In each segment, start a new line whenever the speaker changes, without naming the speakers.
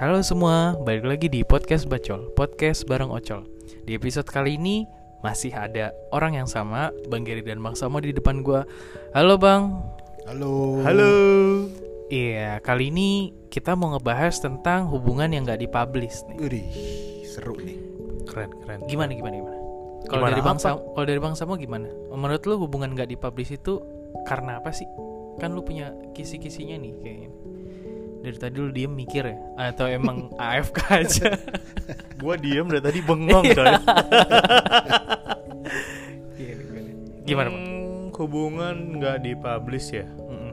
Halo semua, balik lagi di Podcast Bacol, podcast bareng Ocol Di episode kali ini, masih ada orang yang sama, Bang Gary dan Bang Samo di depan gua Halo Bang
Halo.
Halo.
Iya, kali ini kita mau ngebahas tentang hubungan yang gak dipublish nih kan.
Udih, seru nih.
Keren, keren.
Gimana, gimana, gimana? Kalau
Gimana
dari Bang
apa?
Samo, kalau dari Bang Samo gimana? Menurut lu hubungan gak dipublish itu karena apa sih? Kan lu punya kisi-kisinya nih kayaknya dari tadi lu diem mikir ya atau emang AFK aja
Gua diam dari tadi bengong coy.
Iya, gimana? gimana bang?
Hmm, hubungan nggak dipublish ya?
Mm-mm.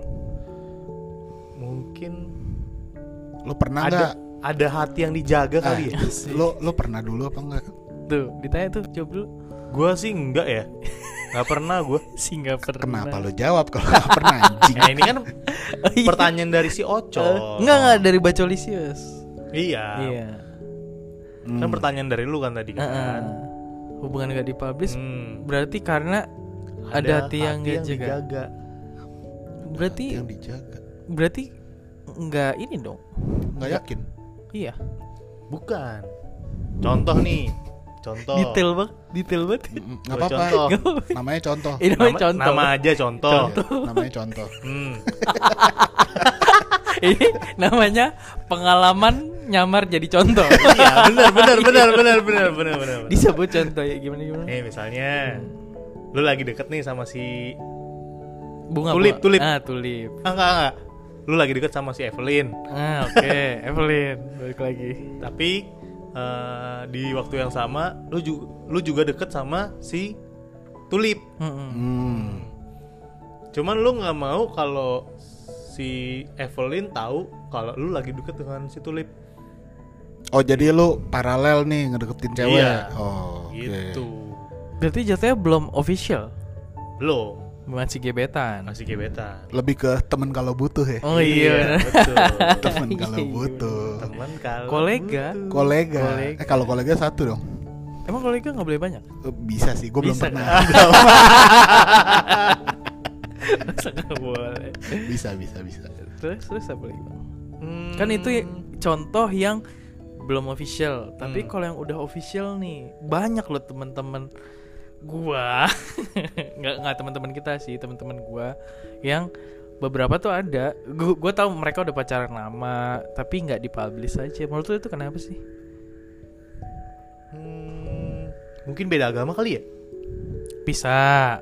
Mungkin
Lo pernah
ada
nggak?
ada hati yang dijaga
Ah,
kali ya.
Lo lo pernah dulu apa enggak?
Tuh, ditanya tuh jawab dulu.
Gua sih enggak ya. Nggak pernah gua.
Sih nggak pernah.
Kenapa lo jawab kalau nggak pernah anjing?
Nah, ini kan
Oh, iya.
pertanyaan dari
Eh,
si Ocol.
Nggak nggak dari Bacolisius.
Iya.
Iya.
Hmm.
Kan pertanyaan dari lu kan tadi
Heeh.
kan.
Hubungan nggak dipublish
Hmm.
berarti karena ada, hati yang nggak jaga.
dijaga.
Berarti
yang dijaga.
berarti nggak ini dong.
Nggak yakin.
Iya.
Bukan. Contoh nih. Contoh.
Detail bang, detail banget.
Mm-mm,
Gua
Hmm, Nggak apa-apa.
Contoh.
Nggak apa-apa.
Namanya contoh.
Ini
Hmm. Nama,
namanya contoh.
nama aja contoh.
Iya, namanya contoh.
Hmm.
ini namanya pengalaman nyamar jadi contoh.
Iya, benar benar benar benar benar benar benar. benar.
Disebut contoh ya gimana gimana.
Nih Eh, misalnya Lu lagi deket nih sama si
Bunga
tulip,
bunga.
tulip.
Ah tulip.
ah, Enggak enggak Lu lagi deket sama si Evelyn
Ah oke, Evelyn balik lagi.
Tapi eh, Di waktu yang sama Lu, ju- lu juga deket sama si Tulip
Mm-mm.
Hmm.
Cuman lu nggak mau kalau Si Evelyn tahu Kalau lu lagi deket dengan si Tulip
Oh jadi lo paralel nih ngedeketin cewek.
Iya.
Oh. oke.
Gitu
Berarti jatuhnya belum official
Belum
Masih gebetan
Masih gebetan
Lebih ke temen kalau butuh ya.
Oh iya, bener.
Betul
Temen kalau
Iya, iya,
butuh.
Temen kalau
Kolega
butuh.
Kolega.
Kolega.
Eh kalau kolega satu dong.
Emang kolega nggak boleh banyak?
Eh, Bisa sih, gue belum
Bisa.
pernah.
Masa nggak boleh
bisa, bisa, bisa.
Terus, terus apa lagi? Bang?
Hmm.
Kan itu ya- contoh yang belum official Tapi
Hmm.
kalau yang udah official nih Banyak loh temen-temen gua nggak nggak teman-teman kita sih teman-teman gua yang beberapa tuh ada gua, gua tahu mereka udah pacaran lama tapi nggak dipublish aja menurut lu itu kenapa sih
Hmm, mungkin beda agama kali ya?
bisa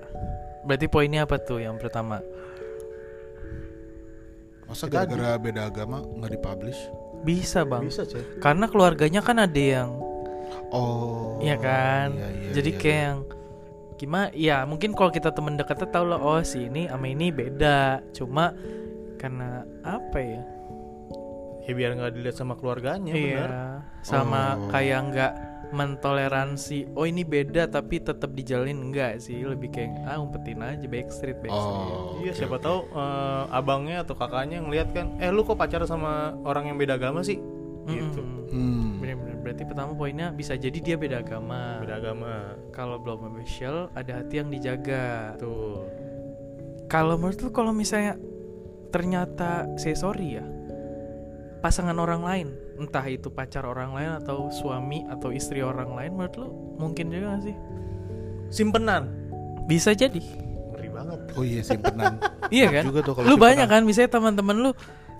berarti poinnya apa tuh yang pertama
Masa
Kita
gara-gara beda agama nggak dipublish?
bisa Iya, bang
Bisa coy.
karena keluarganya kan ada yang
Oh.
Iya kan
iya, iya,
jadi
iya,
kayak
iya.
yang gimana ya mungkin kalau kita temen dekatnya tau lah oh si ini sama ini beda cuma karena apa ya
Ya biar nggak dilihat sama keluarganya
iya
benar.
sama
Oh.
kayak nggak mentoleransi oh ini beda tapi tetap dijalin enggak sih lebih kayak ah umpetin aja backstreet backstreet
Oh.
iya
oke,
siapa
oke.
tahu eh, abangnya atau kakaknya ngelihat kan, eh lu kok pacaran sama orang yang beda agama sih? Gitu.
Mm-mm.
Hmm.
Bener-bener. berarti pertama poinnya bisa jadi dia beda agama
Beda agama.
kalau belum official ada hati yang dijaga
Tuh.
Kalau menurut lu kalau misalnya ternyata saya sorry ya pasangan orang lain entah itu pacar orang lain atau suami atau istri orang lain menurut lu mungkin juga gak sih
Simpenan.
bisa jadi
Ngeri banget.
Oh iya simpenan.
iya kan
Juga tuh kalau
lu banyak
simpenan.
kan misalnya teman-teman lu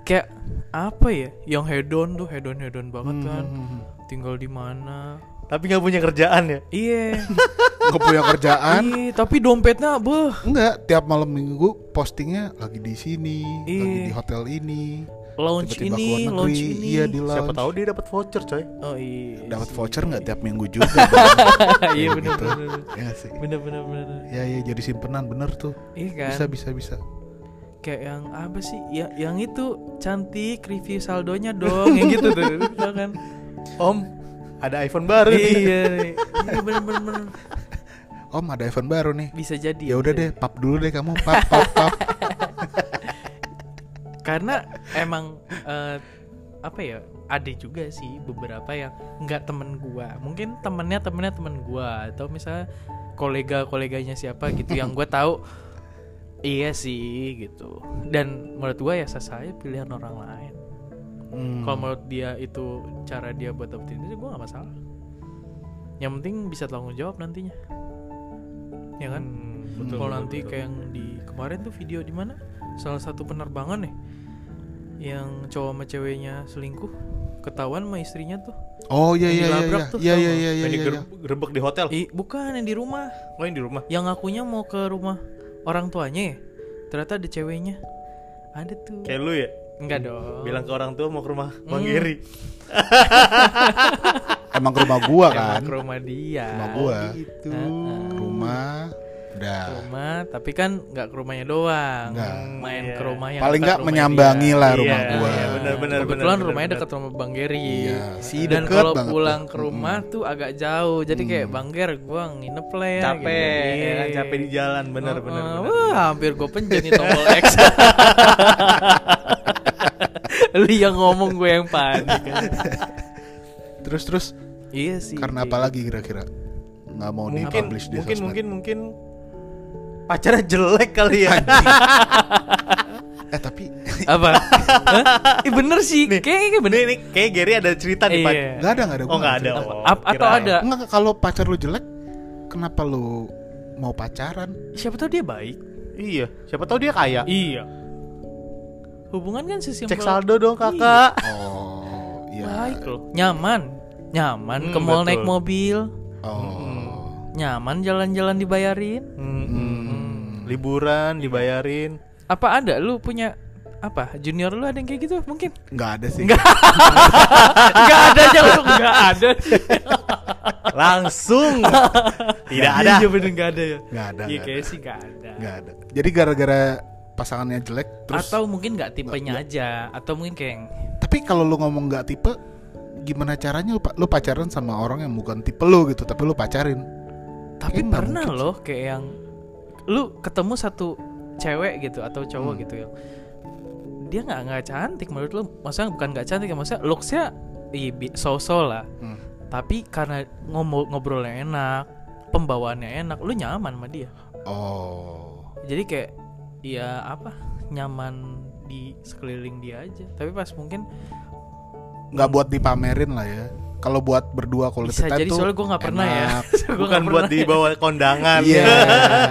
kayak apa ya yang hedon tuh hedon hedon banget
Hmm,
kan
hmm, hmm.
tinggal di mana
Tapi nggak punya kerjaan ya?
iya
Nggak punya kerjaan.
iya tapi dompetnya beh
Enggak, tiap malam minggu postingnya lagi di sini,
Iya.
lagi di hotel ini.
launch
tiba-tiba
ini
keluar negeri.
launch ini
Iya, di lounge.
Siapa tahu dia dapat voucher coy.
oh iya
dapat
sih.
voucher nggak tiap minggu juga. Bang?
iya
Kayak
bener
gitu.
bener
Ya nggak sih.
bener bener bener
Ya ya jadi simpenan bener tuh.
iya kan
Bisa bisa bisa.
kayak yang apa sih ya yang itu cantik review saldonya dong yang gitu tuh tau kan
Om, ada iPhone baru nih.
iya iya bener bener bener.
Om ada event baru nih.
bisa jadi
Ya udah
bisa
deh,
jadi.
pap dulu deh kamu, pap pap pap.
karena emang eh, apa ya ada juga sih beberapa yang nggak temen gua mungkin temennya temennya temen gua atau misalnya kolega koleganya siapa gitu yang gua tahu iya sih gitu dan menurut gua ya saya pilihan orang lain
Hmm.
kalau menurut dia itu cara dia buat dapetin itu gue gak masalah yang penting bisa tanggung jawab nantinya ya kan
Iya Hmm. betul,
kalau
betul,
nanti
betul.
kayak yang di kemarin tuh video di mana salah satu penerbangan nih yang cowok sama ceweknya selingkuh ketahuan sama istrinya tuh
Oh iya iya
Yang
iya
dilabrak tuh
iya iya
sama
iya iya
Yang
iya.
diger- gerebek di hotel.
Ih, bukan yang di rumah
Oh, yang di rumah.
yang ngakunya mau ke rumah orang tuanya ya ternyata ada ceweknya ada tuh
Kayak lu ya.
enggak dong
Bilang ke orang tua mau ke rumah Bang
Oh. Hmm.
iya.
Giri.
Emang ke rumah gua
Emang
kan.
ke rumah dia
Rumah gua.
Iya, gitu
Ke Rumah udah.
Ke rumah tapi kan nggak ke rumahnya doang
Enggak.
main
Iya.
ke rumah yang
Paling
dekat
nggak
rumahnya
menyambangi
dia.
lah rumah
Iya,
gua.
iya, bener. benar,
kebetulan
benar,
rumahnya
benar.
dekat rumah Bang Geri
Iya, si
dan
deket
kalau
banget tuh.
pulang ke rumah tuh agak jauh jadi kayak Bang Ger gua nginep lah ya
Capek,
gitu.
ya kan? capek di jalan, bener
Oh,
bener.
oh,
bener.
wah hampir gue pencet nih tombol X lu yang ngomong gue yang panik
Terus terus
iya sih
karena apa lagi kira-kira? Nggak mau Oh, di
Mungkin
publish di
mungkin
sosmed.
mungkin mungkin pacarnya jelek kali ya.
Eh tapi
apa Hah? Eh, bener sih kayaknya bener
Bener nih, kayak Gary ada cerita nih Pak.
Iya.
nggak ada nggak ada.
Oh
gua
nggak ada.
cerita.
Oh,
Ap- atau
kirain.
ada
Nggak kalau pacar lu jelek, kenapa lu mau pacaran?
siapa tahu dia baik
Iya. Siapa tahu dia kaya.
iya hubungan kan sesimpel
Cek saldo dong kakak.
Oh
Ya.
iya.
baik loh nyaman nyaman
Hmm,
ke mall
betul.
naik mobil
Oh.
nyaman jalan-jalan dibayarin
Mm-mm. Liburan dibayarin.
apa ada lu punya apa junior lu ada yang kayak gitu mungkin
Nggak ada sih.
nggak ada aja langsung nggak ada
Langsung. Tidak ada.
iya bener nggak ada ya
Nggak ada.
iya
nggak ada.
kayaknya sih nggak ada
Nggak ada. Jadi gara-gara pasangannya jelek terus
atau mungkin nggak tipenya aja atau mungkin kayak yang-
tapi kalau lu ngomong nggak tipe gimana caranya lu, pa- lu pacaran sama orang yang bukan tipe lu gitu tapi lu pacarin
tapi
Eh, nggak
pernah
mungkin
loh kayak yang lu ketemu satu cewek gitu atau cowok gitu yang dia nggak nggak cantik menurut lu maksudnya bukan nggak cantik ya maksudnya looksnya iya so-so lah
Hmm.
tapi karena ngomong ngobrolnya enak pembawaannya enak lu nyaman sama dia
oh
jadi kayak ya apa nyaman di sekeliling dia aja tapi pas mungkin
nggak buat dipamerin lah ya kalau buat berdua kalau
bisa jadi soalnya gue nggak pernah ya Soalnya gua
Bukan
nggak
buat
pernah.
dibawa kondangan.
Iya.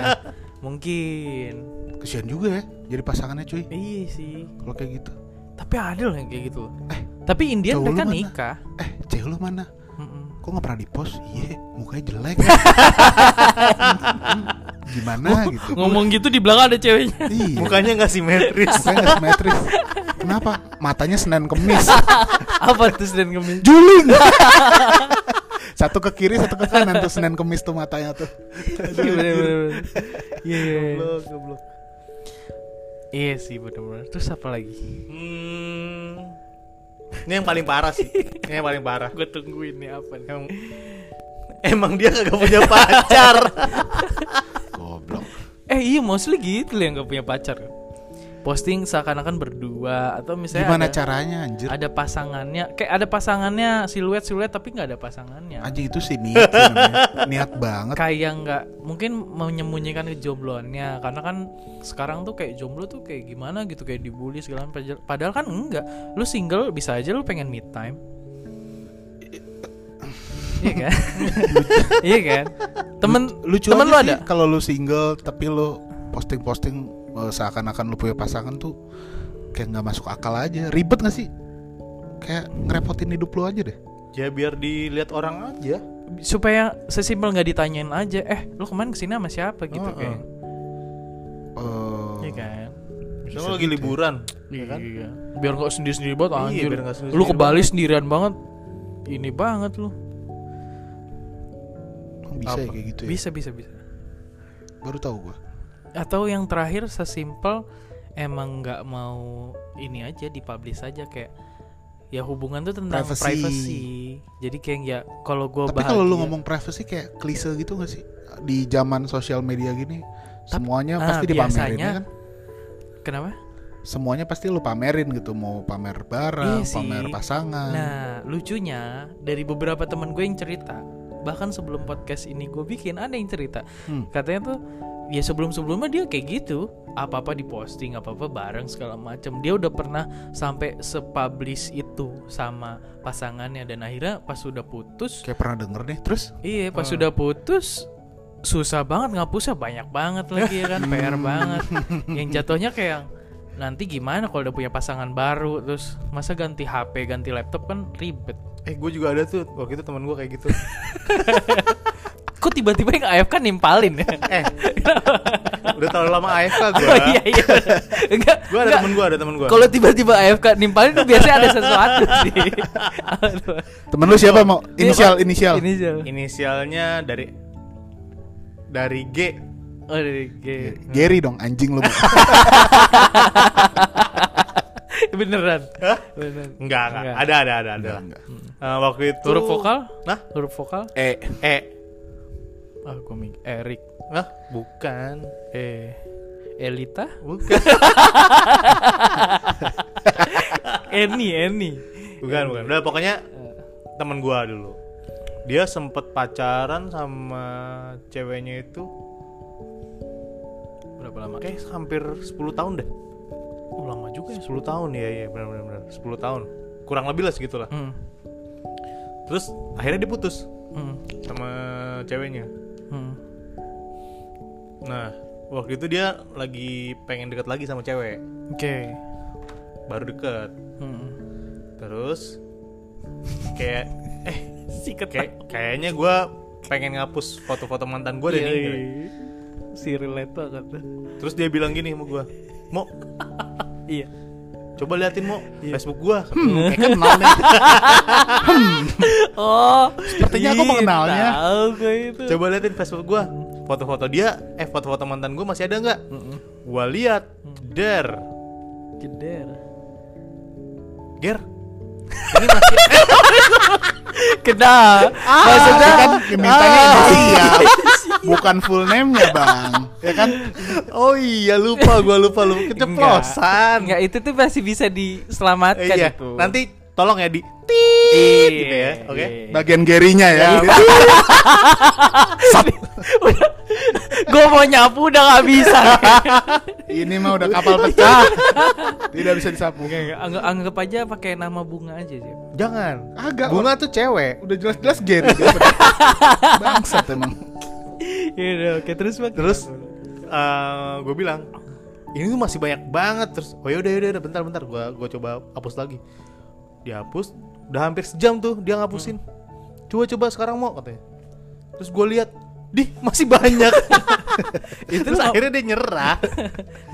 mungkin
kesian juga ya jadi pasangannya cuy
iya sih
kalau kayak gitu
tapi ada loh yang kayak gitu tapi Indian
cowok
mereka
lu mana?
nikah
eh cewek lu mana
Mm-mm.
kok nggak pernah di post iya mukanya jelek gimana gitu
ngomong gitu di belakang ada ceweknya
iya
Mukanya nggak simetris.
mukanya nggak simetris kenapa matanya senin kemis
apa terus dan kemis
juling satu ke kiri satu ke kanan tuh senin kemis tuh matanya tuh
iya bener-bener. Iya, iya, iya.
Goblok, goblok.
iya sih bener-bener terus apa lagi
Hmm. Ini yang paling parah sih. Ini yang paling parah.
gue tungguin nih apa nih
Emang, emang dia kagak punya pacar.
goblok
eh iya mostly gitu loh yang gak punya pacar posting seakan-akan berdua atau misalnya
Gimana
ada-
caranya anjir?
ada pasangannya kayak ada pasangannya siluet siluet tapi nggak ada pasangannya
Anjing itu sih niat sih namanya. Niat banget.
kayak nggak mungkin menyembunyikan kejombloannya karena kan sekarang tuh kayak jomblo tuh kayak gimana gitu kayak dibully segala macam Padahal- padahal kan enggak lu single bisa aja lu pengen me time iya kan iya kan temen
Lucu
temen
aja
lu
sih
ada
kalau lu single tapi lu posting-posting eh, seakan-akan lu punya pasangan tuh kayak nggak masuk akal aja. Ribet gak sih? Kayak ngerepotin hidup lu aja deh.
ya biar dilihat orang aja.
supaya sesimpel nggak ditanyain aja eh lu kemarin kesini sama siapa gitu
Oh, oh.
kayak
Eh,
iya kan
Misalnya lagi liburan, ya kan?
Iya. Biar nggak sendiri-sendiri banget
Iya,
anjir.
biar nggak sendiri-sendiri
lu ke Bali sendirian banget. Ini banget lu.
kok bisa ya
Apa?
kayak gitu ya.
Bisa bisa bisa.
Baru tahu gua.
Atau yang terakhir sesimpel emang nggak mau ini aja dipublish aja kayak ya hubungan tuh tentang
Privacy.
privacy. Jadi kayak ya kalau gua
Tapi kalau lu ngomong privacy kayak klise gitu gak sih? Di zaman sosial media gini
Tapi-
semuanya
ah,
pasti dipamerin
biasanya-
ya kan?
kenapa?
Semuanya pasti lu pamerin gitu, mau pamer barang,
Iya sih.
pamer pasangan.
Nah, lucunya dari beberapa teman gue yang cerita, bahkan sebelum podcast ini gue bikin ada yang cerita.
Hmm.
Katanya tuh ya sebelum sebelumnya dia kayak gitu apa apa diposting apa apa bareng segala macam dia udah pernah sampai sepublish itu sama pasangannya dan akhirnya pas sudah putus
kayak pernah denger nih terus
Iya, pas
Hmm.
sudah putus susah banget ngapusnya banyak banget lagi ya kan PR banget. Yang jatuhnya kayak nanti gimana kalau udah punya pasangan baru terus masa ganti HP, ganti laptop kan ribet.
eh gue juga ada tuh waktu itu teman gue kayak gitu
Kok tiba-tiba yang AFK nimpalin ya?
eh udah terlalu lama AFK gue
Oh iya iya. Enggak.
gue ada
enggak.
temen gue ada temen gue
Kalau tiba-tiba AFK nimpalin tuh biasanya ada sesuatu sih. Apa tuh?
temen lu siapa mau inisial inisial
Inisial.
inisialnya dari dari G
Oh, dari G.
Gary dong anjing lu
Beneran.
Hah?
Beneran.
enggak enggak
Enggak.
ada ada ada ada lah.
Enggak.
Eh, waktu itu
Huruf vokal?
nah
Huruf vokal?
E E
Ah, gua mik- Erik.
nah bukan
Eh, Elita?
bukan
Eni, Eni.
bukan bukan udah pokoknya
E.
temen gue dulu dia sempet pacaran sama ceweknya itu
Berapa lama?
kayak hampir 10 tahun deh
Oh, lama juga
10 tahun ya ya benar benar benar. 10 tahun kurang lebih lah segitulah
Hmm.
terus akhirnya dia putus
Hmm.
sama ceweknya
Hmm.
nah waktu itu dia lagi pengen deket lagi sama cewek
Oke.
baru deket
Hmm.
terus kayak eh
Sikat
kayak kayaknya gue pengen ngapus foto-foto mantan gue deh
Iya,
nih
Si Rileto kata.
terus dia bilang gini sama gue mau
Iya.
coba liatin mau Facebook gue
kayak kan kenal nih
Oh,
Sepertinya aku
ih,
mengenalnya.
Tahu gue itu.
coba liatin Facebook gue foto-foto dia eh foto-foto mantan gue masih ada nggak
Hmm.
gue lihat der
Jeder.
ger ini masih
Kena. Maksudnya
kan dimintanya inisial bukan full name-nya bang ya kan
oh iya lupa gue lupa lupa keceplosan
Enggak, gitu. itu tuh masih bisa
Eh,
diselamatkan
iya
itu. Iya.
nanti tolong ya di tit gitu ya oke
bagian Garynya ya
gue mau nyapu udah gak bisa.
ini mah udah kapal pecah tidak bisa disapu
Anggap, anggap aja pakai nama bunga aja sih.
jangan
Agak,
bunga tuh cewek
udah jelas-jelas Gary bangsat emang
Iya, oke terus bang.
terus gue bilang ini tuh masih banyak banget terus oh yaudah yaudah yaudah, bentar bentar gue gua coba hapus lagi dihapus udah hampir sejam tuh dia ngapusin coba coba sekarang mau katanya terus gue lihat di masih banyak Ya,
Itu
terus
ngap-
akhirnya dia nyerah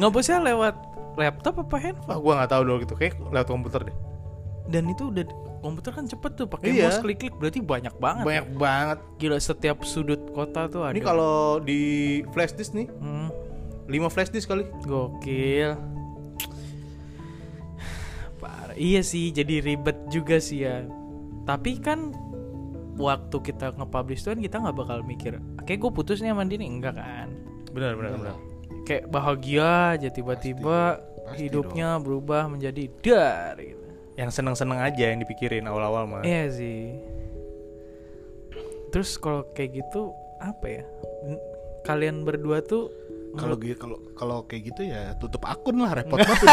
ngapusnya lewat laptop apa handphone?
wah gue nggak tahu dulu gitu kayak lewat komputer deh
Dan itu udah komputer kan cepet tuh pakai
Iya.
mouse klik-klik berarti banyak banget.
banyak banget
Gila setiap sudut kota tuh ada.
ini kalau di flash disk nih
Hmm,
5 flash disk kali
gokil. Parah. Iya sih, jadi ribet juga sih ya. Tapi kan waktu kita nge-publish tuh kan kita nggak bakal mikir kayak gue putus nih sama dia nih enggak kan
benar benar benar
kayak bahagia aja tiba-tiba
Pasti
hidupnya berubah menjadi dar gitu.
yang seneng seneng aja yang dipikirin awal awal mah
Iya sih. Terus kalau kayak gitu apa ya? N- Kalian berdua tuh
kalau
menurut-
gitu kalau kalau kayak gitu ya tutup akun lah repot banget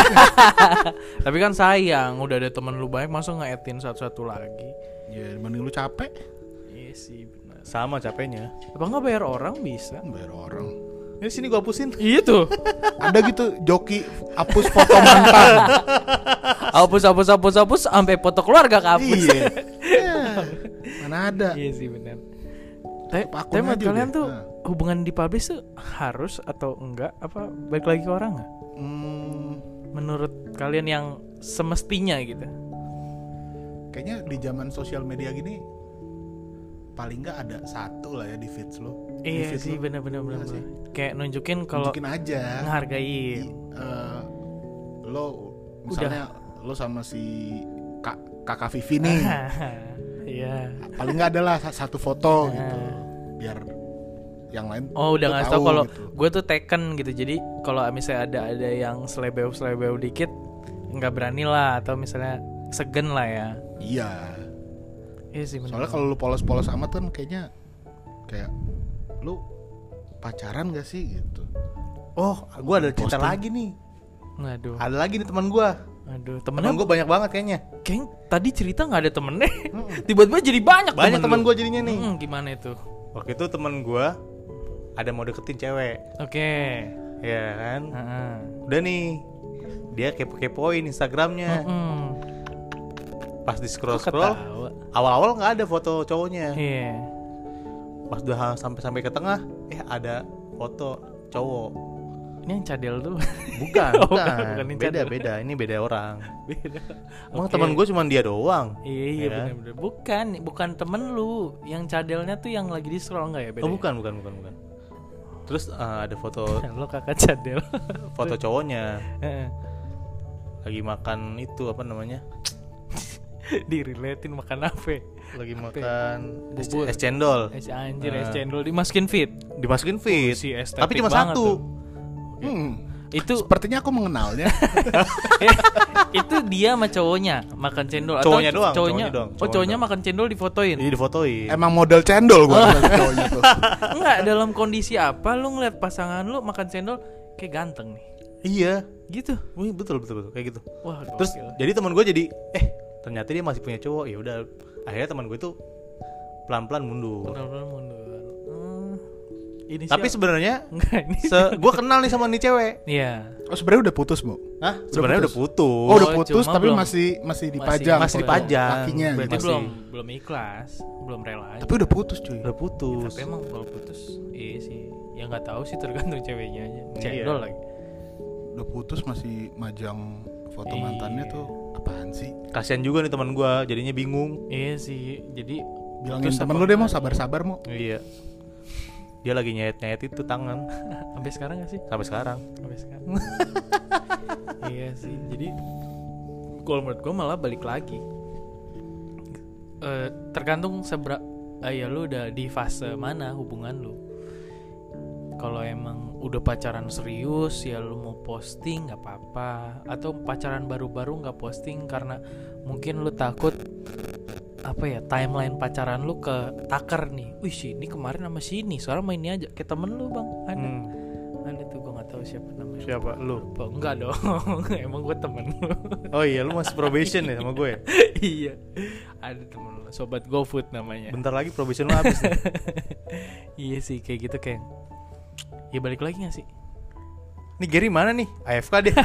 tapi kan sayang udah ada temen lu banyak masa nge-add-in satu-satu lagi.
ya mending lu capek
Iya sih benar.
sama capeknya
Apa nggak bayar orang bisa?
bayar orang
ini sini gue hapusin
Iya tuh.
ada gitu joki hapus foto mantan
Hapus hapus hapus hapus sampai foto keluarga kehapus.
iya Ya, mana ada
Iya sih benar. Tapi
Tutup akun
tapi menurut
aja
kalian
udah.
tuh
Nah.
hubungan di publish tuh harus atau enggak apa balik lagi ke orang nggak?
Hmm,
Menurut kalian yang semestinya gitu?
kayaknya di zaman sosial media gini paling nggak ada satu lah ya di feeds lo di
Iya
feed
sih
lo.
benar-benar
Iya
benar.
sih. ya.
Kayak nunjukin kalau
tunjukin aja I-
ngehargain.
eh, lo misalnya lo sama si kak, kakak Vivi nih
Iya.
paling nggak adalah sa- satu foto
Ah.
gitu biar yang lain
Oh udah
lo
ngasih tau kalau
gitu.
gue tuh teken gitu jadi kalau misalnya ada ada yang selebew selebew dikit nggak berani lah atau misalnya segen lah ya.
iya
Iya sih benar.
soalnya kalau lu polos-polos amat kan kayaknya kayak lu pacaran gak sih gitu
Oh, gue ada cerita
Posting.
lagi nih.
Aduh,
Ada lagi nih teman gue.
aduh,
Teman
temennya
gue banyak banget kayaknya.
Keng, tadi cerita nggak ada temennya, tiba-tiba jadi banyak
Banyak teman
temen lu.
gue jadinya nih.
Hmm, gimana itu?
Waktu itu teman gue ada mau deketin cewek,
Oke,
ya kan?
Heeh.
Udah nih, dia kepo-kepoin Instagramnya.
Mm-mm.
Pas di scroll Eh. scroll,
Ketawa.
awal-awal nggak ada foto cowoknya.
Iya.
Pas udah sampai sampai ke tengah, eh ada foto cowok.
Ini yang cadel tuh.
Bukan,
Oh,
bukan,
bukan ini
beda
cadel.
beda. Ini beda orang.
Beda.
Emang
Oke.
teman gue cuma dia doang.
Iya, iya
Ya kan?
bener-bener. Bukan, bukan temen lu. Yang cadelnya tuh yang lagi di scroll nggak ya? Beda
Oh
ya?
bukan, bukan, bukan, bukan. Terus eh, ada foto
Lo kakak cadel.
foto cowoknya
Heeh.
lagi makan itu apa namanya?
Diriletin makan apa?
Lagi
Apa ya?
makan es,
Bubur.
es cendol.
Es anjir,
Eh.
es cendol dimasukin fit.
Dimasukin fit.
Si estetik
Tapi cuma
banget
satu.
tuh.
Hmm,
Itu
sepertinya aku mengenalnya
itu dia sama cowoknya makan cendol
Cowoknya
cowoknya,
doang, cowoknya doang,
oh
cowoknya
cowoknya
doang.
makan cendol difotoin
Jadi difotoin.
emang model cendol gua cowoknya tuh.
enggak dalam kondisi apa lu ngeliat pasangan lu makan cendol kayak ganteng nih
iya.
gitu
Wih, betul, betul, betul. Kayak gitu.
wah
Terus
gokil.
jadi teman gue jadi eh ternyata dia masih punya cowok. Ya udah akhirnya teman gue itu pelan-pelan mundur.
Bener-bener mundur Hmm, ini
Tapi
siapa?
sebenarnya
enggak ini
se gue kenal nih sama nih cewek.
iya
oh sebenarnya udah putus bu
Hah? Sebenarnya udah putus.
oh udah
Oh,
putus
cuma
tapi
belum.
masih masih dipajang
Masih
foto
dipajang.
kakinya
berarti
gitu.
masih-
belum belum ikhlas belum rela aja.
tapi udah putus cuy
Udah putus.
tapi emang kalau putus iya sih ya nggak tahu sih tergantung ceweknya aja cendol
Iya.
lagi
udah putus masih majang foto
Iya.
mantannya tuh apaan sih
Kasihan juga nih teman gue jadinya bingung.
iya sih jadi
bilangin
putus
temen
apa
lu deh mau
enggak?
sabar-sabar mau
Iya. Dia lagi nyayat-nyayat itu tangan
sampai sekarang nggak sih
sampai sekarang.
sampai sekarang. iya sih. Jadi kalau menurut gue malah balik lagi. Eh, tergantung sebera ah, ya lu udah di fase mana hubungan lu. Kalau emang udah pacaran serius ya lu mau posting nggak apa-apa atau pacaran baru-baru nggak posting karena mungkin lu takut apa ya timeline pacaran lu ke taker nih. Wih si ini kemarin sama si ini, sekarang main ini aja. Kayak temen lu bang, ada
Hmm.
ada tuh gue gak tahu Hmm. siapa namanya
Siapa lu?
Lupa. enggak
Iya.
dong emang gue temen lu
Oh iya, lu masih probation ya sama gue.
iya ada temen lu sobat GoFood namanya
Bentar lagi probation lu habis nih.
iya sih kayak gitu kayak ya balik lagi gak sih
Nih Gary mana nih? AFK dia.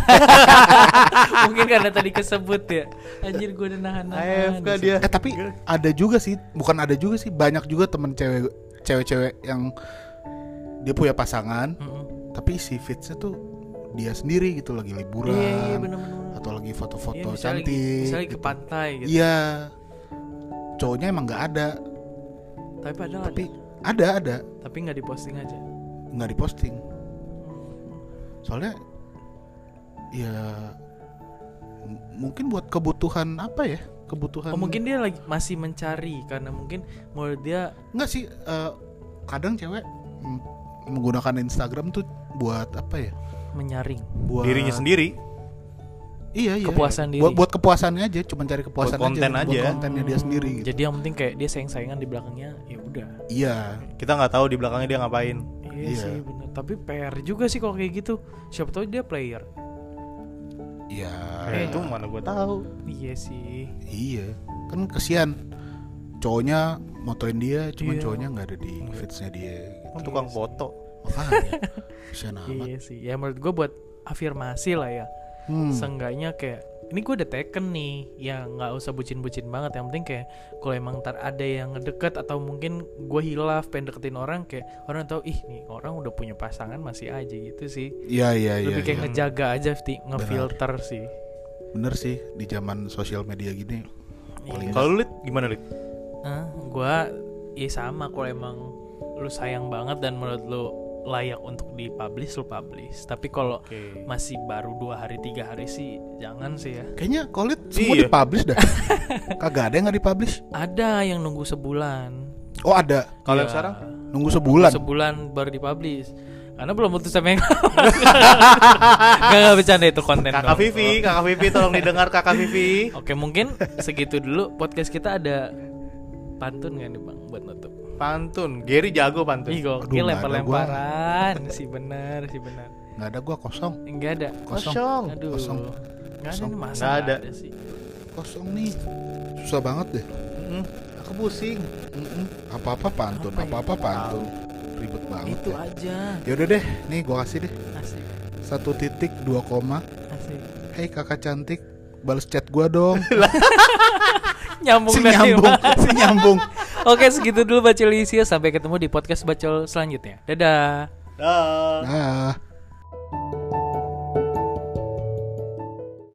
mungkin karena tadi kesebut ya anjir gue udah nahan
AFK
Iya.
dia.
eh tapi ada juga sih bukan ada juga sih banyak juga temen cewek cewek-cewek yang dia punya pasangan tapi si fitsnya tuh dia sendiri gitu lagi liburan
iya iya bener bener
atau lagi
Iya,
foto-foto
misalnya
cantik
lagi- misalnya lagi
gitu.
ke pantai gitu
iya cowoknya emang nggak ada
tapi padahal
tapi
ada
ada ada
tapi nggak diposting aja Oh,
nggak diposting soalnya ya m- mungkin buat kebutuhan apa ya kebutuhan
oh mungkin dia lagi masih mencari karena mungkin menurut dia
nggak sih eh, kadang cewek mm, menggunakan Instagram tuh buat apa ya
menyaring
buat
Dirinya sendiri.
iya iya
Kepuasan diri.
buat, buat kepuasannya aja cuma cari kepuasan
Buat konten
aja,
aja. Hmm,
buat kontennya dia sendiri gitu.
jadi yang penting kayak dia sayang-sayangan di belakangnya ya udah
iya
Kita nggak tahu di belakangnya dia ngapain.
Iya
Iya.
sih bener. Tapi PR juga sih kalau kayak gitu. Siapa tahu dia player.
iya
Eh, itu mana gue tahu.
Iya sih.
Iya, kan kesian cowoknya motoin dia, cuman
Iya.
cowoknya nggak ada di feedsnya dia.
Kan tukang foto.
Makanya kesian amat.
Iya sih. Ya menurut gue buat afirmasi lah ya.
Hmm.
Seenggaknya kayak ini gue udah teken nih. Ya nggak usah bucin-bucin banget. Yang penting kayak kalau emang ntar ada yang ngedeket atau mungkin gue hilaf pengen deketin orang kayak orang tahu ih nih orang udah punya pasangan masih aja gitu sih.
Iya iya iya.
Lebih kayak
iya.
ngejaga aja Fti, ngefilter sih.
Bener sih di zaman sosial media gini. Paling
Iya. Kalau lu Lid, gimana Lid?
Eh, gua ya sama kalau emang lu sayang banget dan menurut lu layak untuk dipublish lu publish. Tapi kalau
Oke.
masih baru dua hari tiga hari sih jangan sih ya.
kayaknya kolit semua
Iya.
dipublish dah. Kagak ada yang nggak dipublish.
Ada yang nunggu sebulan.
Oh ada.
Kalau
Ya,
yang sekarang?
Nunggu sebulan.
sebulan baru dipublish. Karena belum putus sama yang Gak, gak bercanda itu konten
Kakak
doang.
Vivi, Kakak Vivi tolong didengar Kakak Vivi.
Oke mungkin segitu dulu podcast kita ada pantun gak nih bang buat nutup
Pantun, Gary jago pantun.
Ih
Aduh,
gokil
nggak ada
lempar-lemparan Sih bener, sih bener
nggak ada gua kosong
Enggak ada
Kosong.
Aduh
Kosong.
Nggak ada
Kosong.
nih masa
Nggak
nggak
ada.
ada sih
kosong nih susah banget deh
Mm, aku pusing.
apa apa pantun
Apa ya?
apa apa pantun ribet banget
Itu
ya.
aja
Yaudah deh, nih gua kasih deh
Asik
satu titik dua koma.
Asik
Hei kakak cantik, balas chat gua dong.
Nyambung
si
dah nih,
nyambung,
Pak.
si nyambung.
Oke segitu dulu Bacol Isia Sampai ketemu di podcast Bacol selanjutnya Dadah
Dah.
Nah.